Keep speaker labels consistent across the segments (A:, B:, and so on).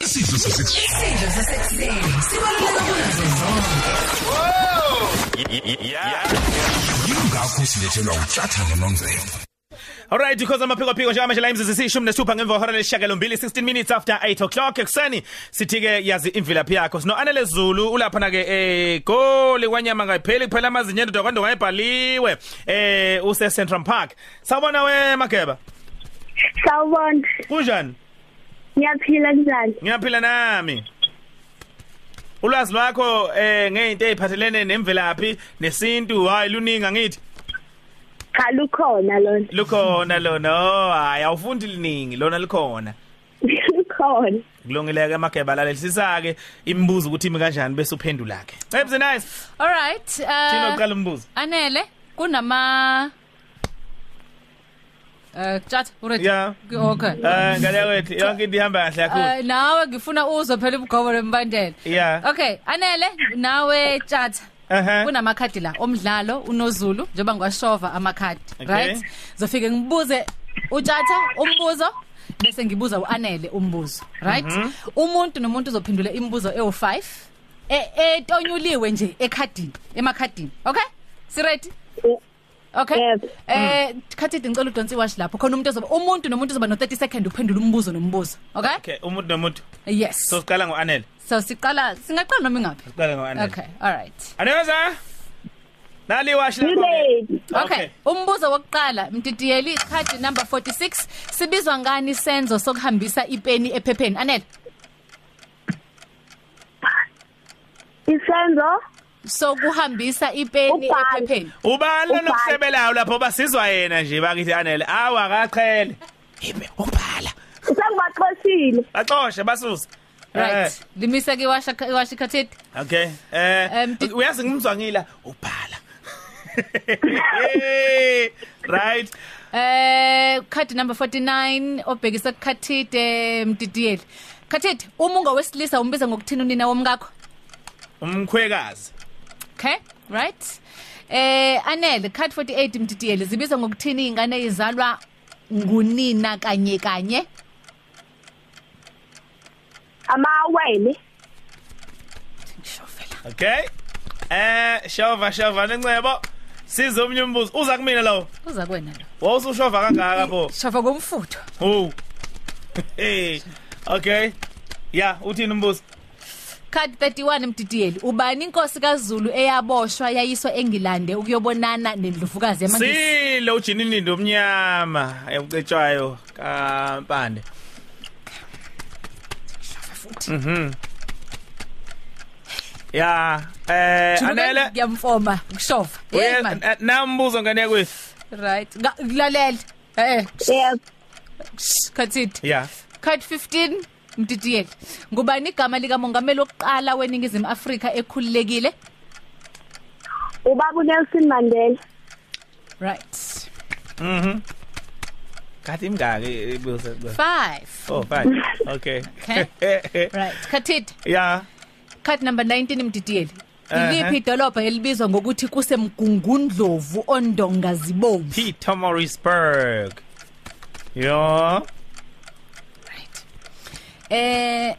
A: Isidlo sasekuseni.
B: Isidlo sasekuseni. Sibaluleka kunazo zonke.
A: Yingakho silethelwa utshatha nononzelo.
C: Alright because amaphiko phiko njengamanje la imizisi sishumi nesithupha ngemva kwehora lesishiyagalombili 16 minutes after 8 o'clock ekseni sithi ke yazi imvilaphi yakho sino Anele Zulu ulaphana ke eh goli kwanyama ngayipheli kuphela amazinyo endoda kwando ngayibhaliwe eh use Central Park sawubona we Mageba
D: Sawubona,
C: kunjani
D: ngiyaphila kunjani?
C: ngiyaphila nami Ulwazi lwakho eh ngeinto eziphathelene nemvelaphi nesintu hayi luninga ngithi
D: Cha lukhona lona.
C: lukhona lona oh hayi awufundi liningi lona likhona
D: Lukhona.
C: kulungileke amageba lalelisisake imibuzo ukuthi imi kanjani bese uphendula ke Cebs nice
E: All right.
C: thina
E: Uh
C: uqala umbuzo
E: Anele kunama Eh chat already.
C: Yeah.
E: Okay.
C: eh ngale wethu
E: Ah.
C: yonke into ihamba kahle kakhulu
E: Eh nawe ngifuna uzwe phela ubugobo lembandela.
C: Yeah.
E: Okay, Anele nawe chat.
C: ehe
E: kunamakhadi la omdlalo unozulu njengoba ngwashova amakhadi
C: Okay.
E: right zofike ngibuze utshata umbuzo bese ngibuza uanele umbuzo right
C: Mhm.
E: umuntu nomuntu uzophendula imibuzo ewu5 etonyuliwe nje ekhadini emakhadini okay si ready Okay.
D: Yebo.
E: Eh khathi ngicela udonsi wash lapho khona umuntu ozoba umuntu nomuntu ozoba no 30 second uphendula umbuzo nombuzo. Okay?
C: okay umuntu nomuntu
E: Yes.
C: so
E: So,
C: siqala ngoanele
E: so siqala singaqala noma ingapi?
C: siqala ngoanele
E: Okay. All right.
C: aneza nali washi
D: You ready?
E: Okay, umbuzo wokuqala mtitiyeli card number 46 sibizwa ngani senzo sokuhambisa ipeni ephepheni Anele
D: Isenzo
E: sokuhambisa ipeni
D: Ubhale.
E: ephepheni
C: ubala
D: Ubhale.
C: nokusebelayo lapho basizwa yena nje bakithi anele awa akaqhele ibe ubhala
D: sengibaxoshile.
C: baxoshe basusa
E: right limise ke washa washa card
C: Eh, okay eh
E: Um, did-
C: uyazi ngimzwangila ubhala Eh, right
E: eh card number 49 obhekisa kukhadide mtitiyeli card umungo wesilisa umbiza ngokuthina unina womkakho
C: umkhwekazi
E: okay right eh Anele card 48 mtitiyeli zibiza ngokuthina izingane ezizalwa ngunina kanye kanye
D: Amawele.
E: ngishofela
C: okay eh shova shova nencebo siza umnye umbuzo uza kumina lawo
E: uza kwena lo
C: wawusushova kangaka pho
E: shava ngomfutho
C: oh hey okay ya uthini umbuzo
E: card 31 mdidiyeli ubani inkosi kaZulu eyaboshwa yayiswa engilande ukuyobonana nendlovukazi yamangisi
C: silo ujinini ndomnyama ekucetshwayo kampande mhm ya eh anele
E: ngiyamfoma ngishova hey man
C: nambuzo ngane kwethu
E: right Nga- lalela eh
D: Yebo.
E: khathit
C: ya
E: card 15 mdidiyeli ngubani igama lika mongameli oqala weningizimu Afrika ekhululekile
D: Ubaba uNelson Mandela.
E: right
C: mhm kathi imingaki ibuzo
E: 5
C: Oh, fine. Okay. Eh, Okay.
E: right khathit
C: yeah.
E: card number 19 mdidiyeli
C: Uh-huh.
E: Iliphi idolobha elibizwa ngokuthi kusemgungundlovu ondonga zibomvu
C: Peter Morrisburg. Yeah.
E: Right. Eh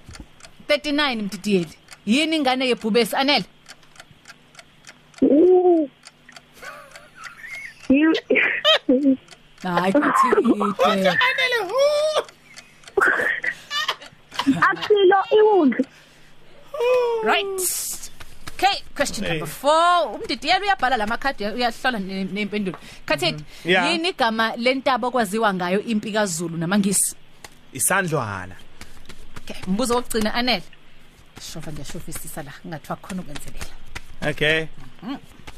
E: 39 mdidiyeli. Yini ingane yebhubesi Anele?
D: Mm. You
E: Hayi kuthide.
D: Aphilo iwundlu.
E: Right. Okay, question number 4. Umdidiyeli uyabhala lamakhadi uyahlola ne- nempendulo. Khathethi,
C: Yeah.
E: yini igama lentaba okwaziwa ngayo impi kaZulu namangisi?
C: Isandlwana.
E: Okay, mbuzo wokugcina Anele. Shofa ngiyashofisisa la, ngathiwa khona ukwenzelela.
C: Okay.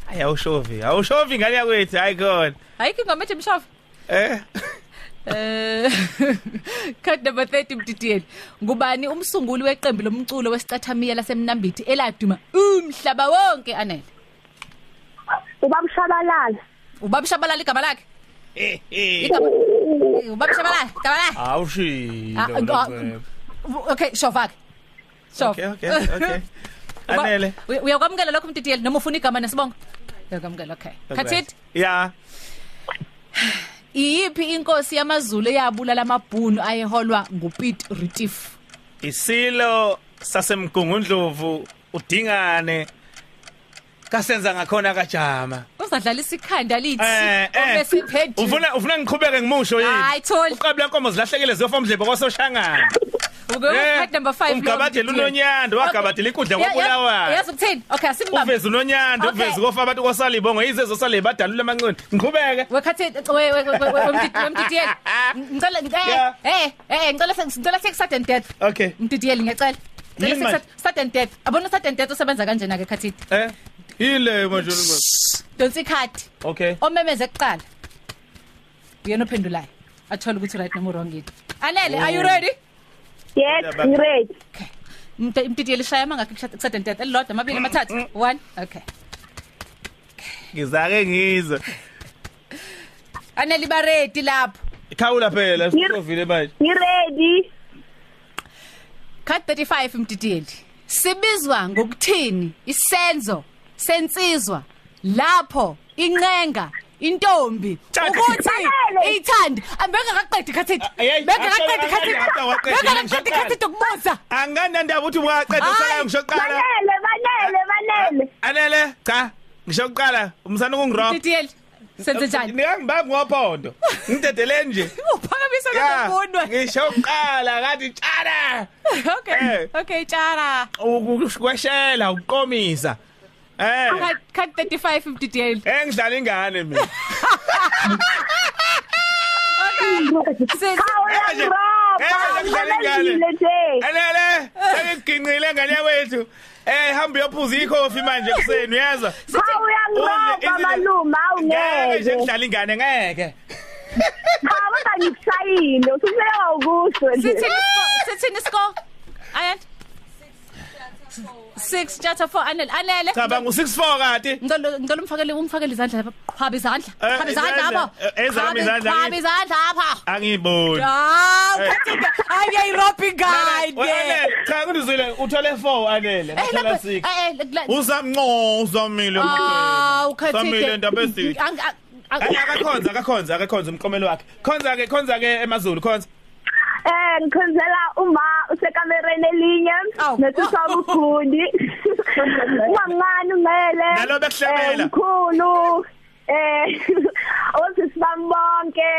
C: Hayi awushovi. Awushovi ngale yakwethu. Hayi god.
E: Hayi kingomethe mshofa.
C: Eh.
E: Eh card number 30 mdidiyeli ngubani umsunguli weqembu lomculo wesicathamiya lasemnambithi eladuma umhlaba wonke anele
D: Ubaba Shabalala.
E: ubabishabalala igama lakhe
C: Eh, eh.
E: igama Eh, ubabishabalala igama lakhe
C: Awushi.
E: Ah, ah, okay shova ke
C: Okay, okay, okay.
E: Uba-
C: Anele.
E: uya- uyakwamukela lokho mdidiyeli noma ufuna igama nesibongo uyakwamukela okay khathit
C: Yeah.
E: iyiphi inkosi yamaZulu eyabulala amabhunu ayeholwa nguPete Retief
C: isilo sasemgungundlovu udingane kasenza ngakhona kajama
E: uzadlala isikhanda lithi
C: Eh, eh.
E: obese phedu
C: ufuna ufuna ngiqhubeke ngimusho yini
E: Hayi, Tholi.
C: uqabu lenkomo zilahlekile ziyofa umdlebo kwasoshangana
E: ube
C: Eh,
E: card number 5
C: umgabadela uNonyando, wagabadela ikudla koBulawayo.
E: yazi ukuthini okay simbambe
C: uveze unonyanda
E: Okay.
C: uveze kofa abantu kwasalibongo yizezo sale badalula amanqindi ngiqhubeke
E: wekhathe we we we- we- we- umdidiyeli ngicela
C: Yeah.
E: eh eh eh ngicela se- ngicela sek sudden death
C: okay
E: umdidiyeli ngiyacela
C: Yini
E: ngicela
C: manje?
E: sek sudden death abona sudden death usebenza kanjena ke khathi
C: eh ile manje
E: donsi card
C: okay
E: omemeze kuqala uyena ophendulayo athola ukuthi right noma wrong yini anele are you
C: Oh.
E: ready
D: Yes,
C: Indaba-
D: ngiready.
E: okay Umte- umdidiyeli shaya mangakho kusudden death elilodwa amabili
C: Mm,
E: amathathu one okay
C: ngizake ngizwe
E: anele iba ready lapho
C: khawula phela
D: Yir-
C: sikovile manje
D: Ngiready.
E: Card 35 mdidiyeli. Sibizwa ngokuthini isenzo sensizwa lapho inqenga intombi
C: Cha-
E: ukuthi
D: Lalele.
E: ithanda ambeka kaqedi khathi
C: Ayayi,
E: beka kaqedi
C: ashaya-
E: khathi
C: ashaya- awaqedi,
E: beka kaqedi
C: ngishaqala.
E: khathi dokubuza
C: anginandaba ukuthi ubukaqeda usalayo
E: Hayi,
C: ngisho kuqala
D: Banele, banele, banele.
C: anele cha ngisho kuqala umsana kungirob
E: mdidiyeli senze njani
C: nikangibamba ngophondo ngidedele nje
E: uphakamisa
C: ya
E: nobunwe
C: ngisho kuqala ngathi tshana
E: okay
C: Eh.
E: okay tshara
C: ukweshela uqomisa eh
E: Card- card 35 mdidiyeli
C: engidlala ingane mina
E: Senze-
D: Khawula
C: Eh, nje.
D: ngiroba.
C: Eh, manje kudlala ingane.
D: Ngisebendzile nje.
C: Alele, sengiginqile ngane yakwethu. Eh hamba uyophuza ikhofi manje kuseni uyezwa?
D: Khawula
C: Udle
D: ngiroba
C: izilo-
D: maluma
C: Ngeke nje
D: awungeke.
C: kudlala ingane ngeke.
D: Cha kodwa ngikushayile. Usuphela ukusho nje.
E: Sithini score? Sithini score? Ayan. 6 chapter 4 anele anele
C: Cabanga u64 kade.
E: ngicela ngicela umfakele umfakele izandla lapha qhwaba izandla
C: Eh,
E: qhwaba izandla
C: izandla.
E: lapha
C: Eh, ezami
E: Qhwaba-
C: izandla, Eh.
E: qhwaba
C: ngithi.
E: izandla lapha
C: Angiboni.
E: ah ukhathinga ayi ropi guy Eh,
C: Alele, cha kunizwile uthole 4 alele. Uthola 6. Uzamnqo uzamile
E: ah
C: umkhwelo. Samile ndaba esithi. Akakhonza, akakhonza, akakhonza umkomelo wakhe. Khonza ke, khonza ke emazulu, khonza.
D: Eh ngikhonzela uma usekamereni elinye
E: Aw.
D: nesisa ukhundi. Umamncane ungele.
C: Nalo bekuhlabela.
D: Mkhulu. Eh osisi bami bonke,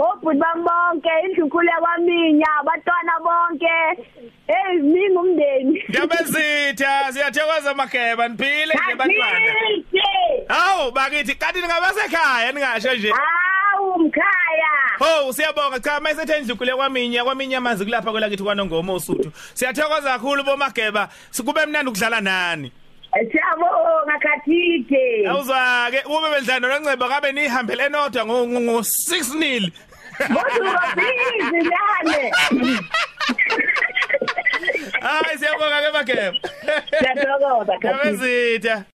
D: obhuti bami bonke, indlunkulu yakwaminya, abantwana bonke. Hey mingi umndeni.
C: Ngiyabezitha, siyathokoza mageba, niphile nje bantwana.
D: Ngiyabonga.
C: Hawu bakithi kanti ningabasekhaya ningasho nje.
D: Hawu mkhaya.
C: Ho siyabonga cha mayisethe indlukule kwaminye kwaminye amanzi kulapha kwelakithi kwanongoma osuthu. Siyathokoza kakhulu bomageba. Sikube mnandi ukudlala nani.
D: Siyabonga Khathide.
C: Awuzwa ke ube bendlana noNceba kabe nihambele enodwa ngo- ngo ngo- 6 nil.
D: Uzobizi lane.
C: Hayi siyabonga ke mageba.
D: Siyabonga Khathide.
C: Ngiyabezitha.